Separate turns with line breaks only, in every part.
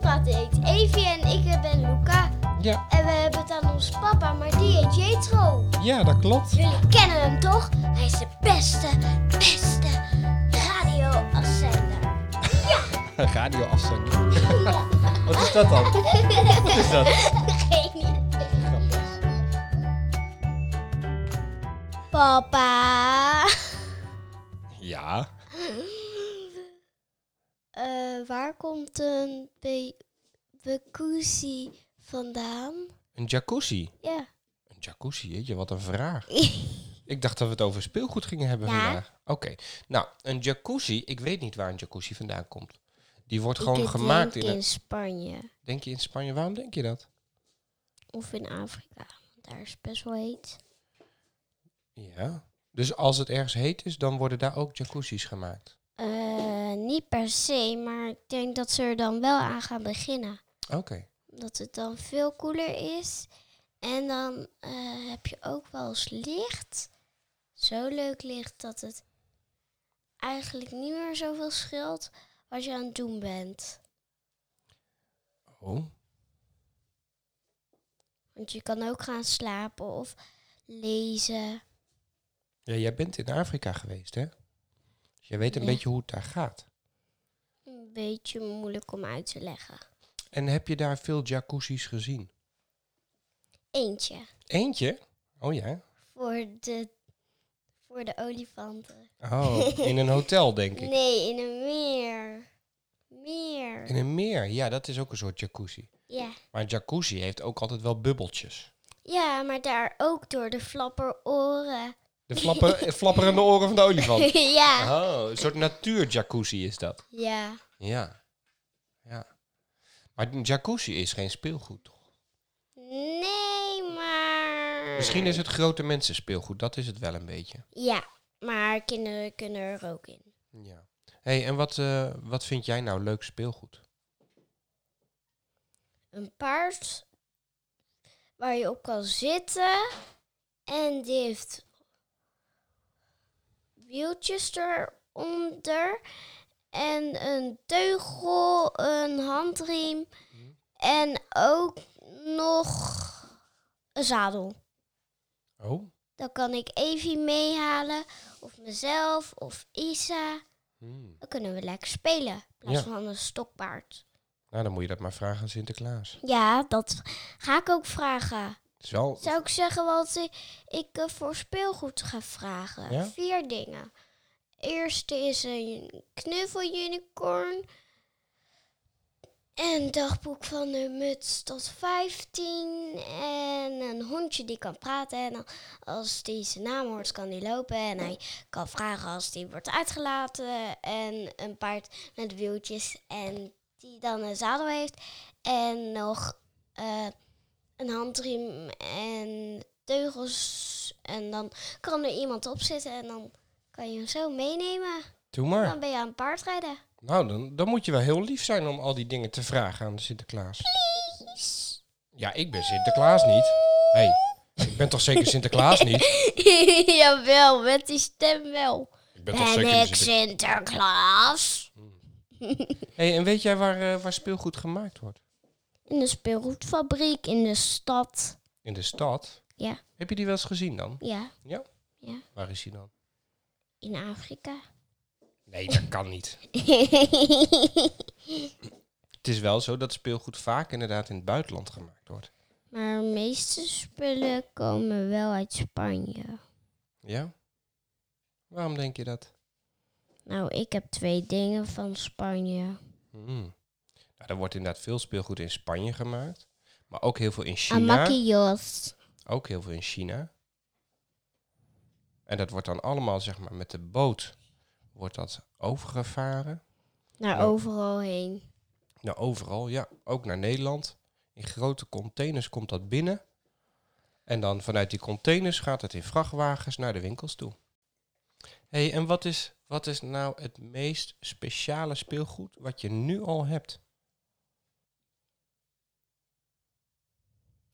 gaat eet. Evie en ik ben Luca.
Ja,
En we hebben het aan ons papa, maar die heet Jetro.
ja, dat klopt.
Jullie kennen hem toch? Hij is de beste, beste radioafzender.
Radio afzender. Wat is dat dan? Wat is dat? Grappig.
Papa.
Ja.
Eh, waar komt een be- jacuzzi vandaan?
Een jacuzzi.
Ja.
Een jacuzzi, jeetje, wat een vraag. Ik dacht dat we het over speelgoed gingen hebben
Ja.
vandaag. Oké, nou, een jacuzzi, ik weet niet waar een jacuzzi vandaan komt. Die wordt
Ik
gewoon gemaakt
denk
in een...
in Spanje
Denk je in Spanje, waarom denk je dat?
of in Afrika. Daar is het best wel heet.
Ja. Dus als het ergens heet is, dan worden daar ook jacuzzis gemaakt.
Eh, niet per se, maar ik denk dat ze er dan wel aan gaan beginnen.
Oké.
Omdat het dan veel koeler is. En dan eh, heb je ook wel eens licht. Zo leuk licht dat het eigenlijk niet meer zoveel scheelt wat je aan het doen bent.
Oh.
Want je kan ook gaan slapen of lezen.
Ja, jij bent in Afrika geweest, hè? Dus jij weet een
Ja.
beetje hoe het daar gaat.
Een beetje moeilijk om uit te leggen.
En heb je daar veel jacuzzis gezien?
Eentje
Eentje? Oh ja.
voor de, voor de olifanten.
Oh, in een hotel, denk ik.
Nee, in een meer. Meer.
In een meer. Ja, dat is ook een soort jacuzzi.
Ja.
Maar een jacuzzi heeft ook altijd wel bubbeltjes.
ja, maar daar ook door de flapperoren.
De flapper, eh, flapperende oren van de olifant.
ja.
Oh, een soort natuurjacuzzi is dat.
Ja.
Ja. Ja. Maar een jacuzzi is geen speelgoed, toch?
Nee, maar...
Misschien is het grote mensen speelgoed, dat is het wel een beetje.
Ja, maar kinderen kunnen er ook in.
Ja. hey, en wat, eh, wat vind jij nou leuk speelgoed?
Een paard waar je op kan zitten. En die heeft wieltjes eronder. En een teugel, een handriem. En ook nog een zadel.
Oh.
Dan kan ik Evie meehalen, of mezelf, of Isa.
Hmm.
Dan kunnen we lekker spelen, in plaats
Ja.
van een stokpaard.
Nou, dan moet je dat maar vragen aan Sinterklaas.
Ja, dat ga ik ook vragen.
Het is wel...
Zou ik zeggen wat i- ik eh, voor speelgoed ga vragen?
Ja?
Vier dingen. Eerste is een knuffelunicorn. En dagboek van de muts tot 15. En een hondje die kan praten. En dan als die zijn naam hoort, kan die lopen. En hij kan vragen als die wordt uitgelaten. En een paard met wieltjes. En die dan een zadel heeft. En nog eh, een handriem en teugels. En dan kan er iemand op zitten. En dan kan je hem zo meenemen. Dan
Doe maar.
ben je aan het paardrijden.
Nou, dan, dan moet je wel heel lief zijn om al die dingen te vragen aan Sinterklaas. Ja, ik ben Sinterklaas niet. Hé, hey, ik ben toch zeker Sinterklaas niet?
Jawel, met die stem wel.
Ik ben toch
Ben
zeker
ik
Sinterklaas?
Sinterklaas?
hey, en weet jij waar, eh, waar speelgoed gemaakt wordt?
In de speelgoedfabriek, in de stad.
In de stad?
Ja,
Heb je die wel eens gezien dan?
ja,
Ja?
Ja.
Waar is die dan?
in Afrika.
Nee, dat kan niet. Het is wel zo dat speelgoed vaak inderdaad in het buitenland gemaakt wordt.
maar de meeste spullen komen wel uit Spanje.
Ja? Waarom denk je dat?
Nou, ik heb twee dingen van Spanje.
Hmm. Nou, er wordt inderdaad veel speelgoed in Spanje gemaakt. Maar ook heel veel in China.
Amakios.
Ook heel veel in China. En dat wordt dan allemaal, zeg maar, met de boot wordt dat overgevaren.
Naar
Ja.
overal heen.
Nou, overal, ja. Ook naar Nederland. In grote containers komt dat binnen. En dan vanuit die containers gaat het in vrachtwagens naar de winkels toe. hey, en wat is, wat is nou het meest speciale speelgoed wat je nu al hebt?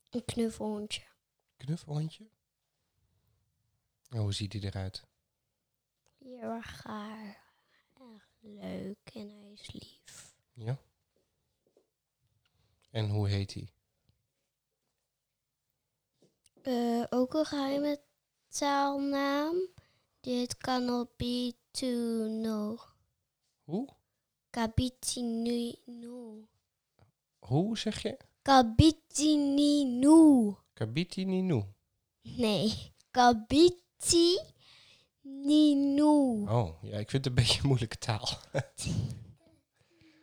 Een knuffelhondje.
Knuffelhondje? En hoe ziet die eruit?
Heel erg gaar. Echt leuk en hij is lief.
Ja. En hoe heet hij?
Eh, ook een geheime taalnaam. Dit cannot be to no.
Hoe?
Kabitinino.
Hoe zeg je?
Kabitinino.
Kabitininu.
Nee, Kabitinino.
Oh, ja, ik vind het een beetje een moeilijke taal.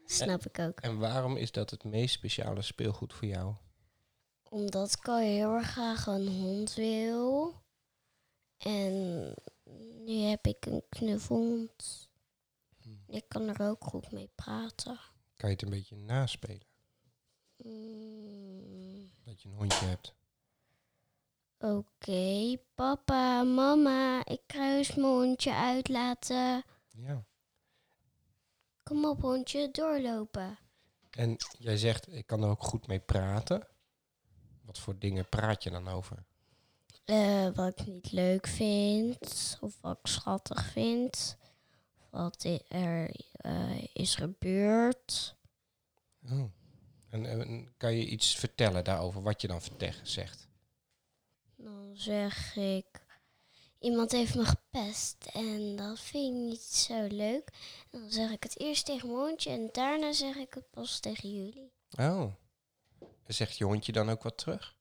Snap ik ook.
En waarom is dat het meest speciale speelgoed voor jou?
Omdat ik al heel erg graag een hond wil. En nu heb ik een knuffelhond. Ik kan er ook goed mee praten.
Kan je het een beetje naspelen?
Mm,
Dat je een hondje hebt.
Oké, papa, mama, ik ga eens mijn hondje uitlaten.
Ja.
Kom op, hondje, doorlopen.
En jij zegt, ik kan er ook goed mee praten. Wat voor dingen praat je dan over?
Eh, wat ik niet leuk vind, of wat ik schattig vind, wat i- er eh, is gebeurd.
Oh. En, en kan je iets vertellen daarover, wat je dan verte- zegt?
Dan zeg ik, iemand heeft me gepest en dat vind ik niet zo leuk. En dan zeg ik het eerst tegen mijn hondje en daarna zeg ik het pas tegen jullie.
Oh. En zegt je hondje dan ook wat terug?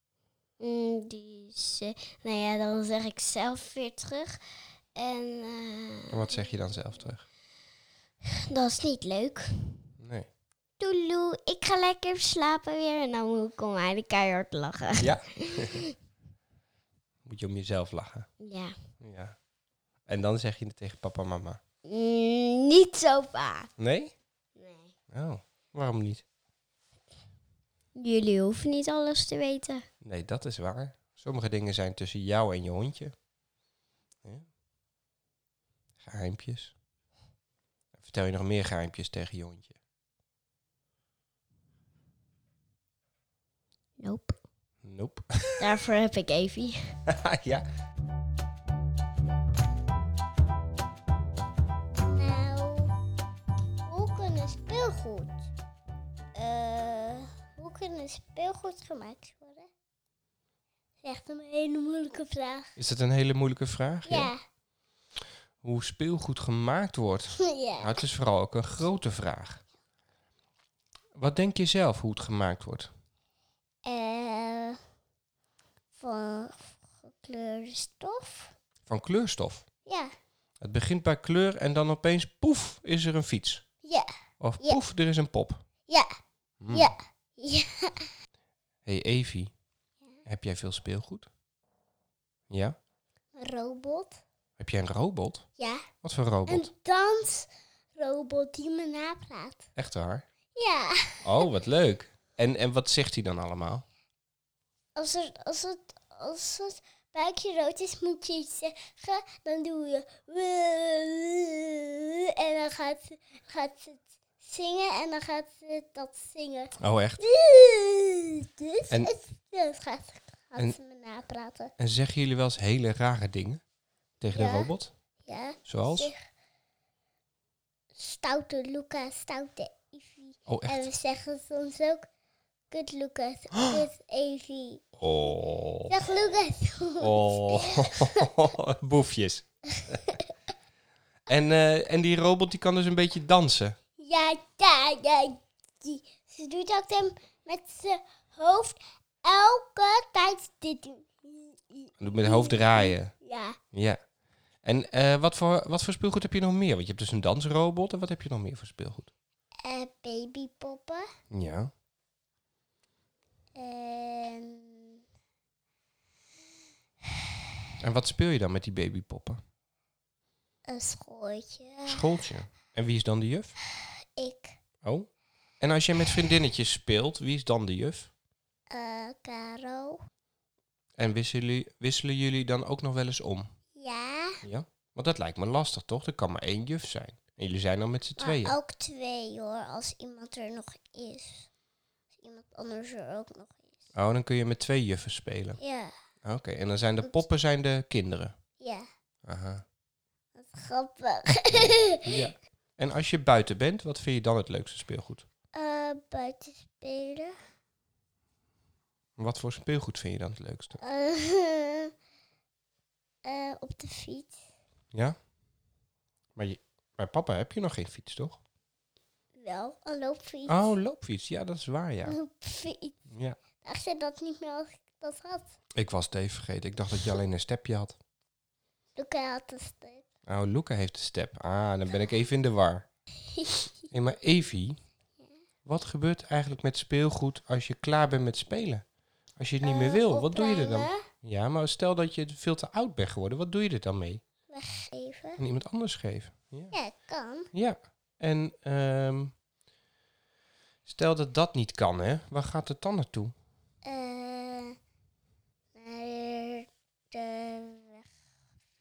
Mm, die ze- nou ja, dan zeg ik zelf weer terug. En eh,
En wat zeg je dan zelf terug?
dat is niet leuk.
Nee.
Doeloe, ik ga lekker slapen weer. En dan moet ik om mij de keihard lachen.
Ja. Moet je om jezelf lachen.
Ja.
Ja. En dan zeg je het tegen papa en mama.
Mm, niet zo vaak.
Nee?
Nee.
Oh. Waarom niet?
Jullie hoeven niet alles te weten.
Nee, dat is waar. Sommige dingen zijn tussen jou en je hondje. Ja. Geheimpjes. Vertel je nog meer geheimpjes tegen je hondje?
Nope.
Nope.
Daarvoor heb ik Evie.
ja.
Nou, hoe kunnen speelgoed? eh, hoe kunnen speelgoed gemaakt worden? Echt een hele moeilijke vraag.
Is dat een hele moeilijke vraag?
Ja.
Hoe speelgoed gemaakt wordt? Nou,
ja.
het is vooral ook een grote vraag. Wat denk je zelf hoe het gemaakt wordt?
Eh, van gekleurde stof.
Van kleurstof.
Ja.
Het begint bij kleur en dan opeens poef is er een fiets.
Ja.
Of
Ja.
poef, er is een pop.
Ja.
Hmm.
Ja. Ja.
hey Evie, heb jij veel speelgoed? Ja?
Robot.
Heb jij een robot?
Ja.
Wat voor robot?
Een dansrobot die me napraat.
Echt waar?
Ja.
Oh, wat leuk. En, en wat zegt hij dan allemaal?
Als, er, als, het, als het buikje rood is, moet je iets zeggen. Dan doe je. En dan gaat, ze- gaat ze het zingen. En dan gaat ze dat zingen.
Oh, echt?
Dus
En-
het, dat gaat, gaat
en-
ze me napraten.
En zeggen jullie wel eens hele rare dingen tegen
Ja.
de robot?
Ja.
Zoals?
Zeg, Stoute Luca, stoute Evie.
Oh,
En
echt?
we zeggen soms ook. Kut Lucas, kut Evie.
Oh.
Dag Lucas.
Oh. Boefjes. en, eh, en die robot die kan dus een beetje dansen.
Ja, ja, ja. Die, ze doet ook hem met zijn hoofd elke tijd dit doen.
Met het hoofd draaien.
Ja,
Ja. En eh, wat, voor, wat voor speelgoed heb je nog meer? Want je hebt dus een dansrobot. En wat heb je nog meer voor speelgoed?
eh, babypoppen.
Ja.
En
En wat speel je dan met die babypoppen?
een schooltje.
Schooltje. En wie is dan de juf?
Ik,
Oh. En als je met vriendinnetjes speelt, wie is dan de juf?
eh, Caro.
En wisselen, jullie- wisselen jullie dan ook nog wel eens om?
Ja,
Ja. Want dat lijkt me lastig, toch? Er kan maar één juf zijn. En jullie zijn dan met z'n tweeën.
maar ook twee hoor, als iemand er nog is. Als iemand anders er ook nog is.
Oh, dan kun je met twee juffen spelen. Ah,
Ja,
Oké, en dan zijn de poppen zijn de kinderen.
ja.
Aha.
Wat grappig.
Ja. En als je buiten bent, wat vind je dan het leukste speelgoed?
Eh, buiten spelen.
Wat voor speelgoed vind je dan het leukste?
Eh, eh, op de fiets.
Ja? Maar je, bij papa heb je nog geen fiets, toch?
Wel, een loopfiets.
Oh, loopfiets. Ja, dat is waar, ja.
Loopfiets.
ja.
Dacht je dat niet meer als ik dat had?
Ik was het even vergeten. Ik dacht dat je alleen een stepje had.
Luca had een stuk.
Oh, Luca heeft een step. Ah, dan ben ik even in de war. Hé, maar Evie, wat gebeurt eigenlijk met speelgoed als je klaar bent met spelen? Als je het niet meer
Eh,
wil, wat doe je er dan?
opruimen,
Ja, maar stel dat je veel te oud bent geworden, wat doe je er dan mee?
Weggeven.
Aan iemand anders geven. Ja.
Ja, kan.
ja. En ehm, stel dat dat niet kan, hè? Waar gaat het dan naartoe?
Eh, naar de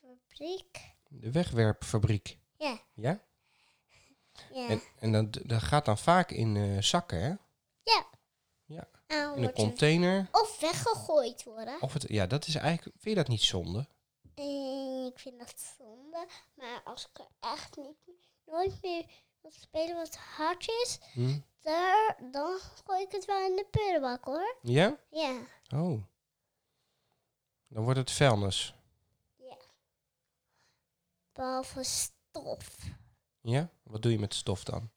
wegfabriek.
De wegwerpfabriek.
Ja.
Ja?
Ja.
En, en dat, dat gaat dan vaak in eh, zakken, hè?
En
In een
wordt er-
container.
Of weggegooid worden.
Of het, ja, dat is eigenlijk... Vind je dat niet zonde?
Eh, ik vind dat zonde. Maar als ik er echt niet, meer- nooit meer wil spelen wat hard is,
Hm?
daar, dan gooi ik het wel in de prullenbak hoor.
Ja?
Ja.
Oh. Dan wordt het vuilnis.
Behalve stof.
Ja? Wat doe je met stof dan?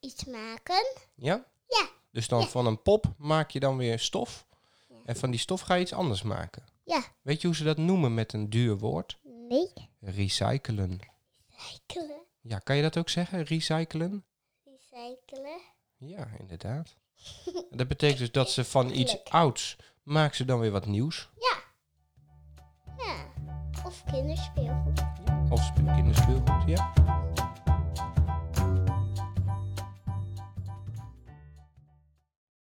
Iets maken.
Ja?
Ja.
Dus dan
Ja.
van een pop maak je dan weer stof.
Ja.
En van die stof ga je iets anders maken.
Ja.
Weet je hoe ze dat noemen met een duur woord?
Nee.
Recyclen.
Recyclen.
Ja, kan je dat ook zeggen? Recyclen?
Recyclen.
Ja, inderdaad. En dat betekent dus dat ze van iets
Tuurlijk.
ouds maken ze dan weer wat nieuws.
Ja. Of kinderspeelgoed.
Of spe- kinderspeelgoed, ja.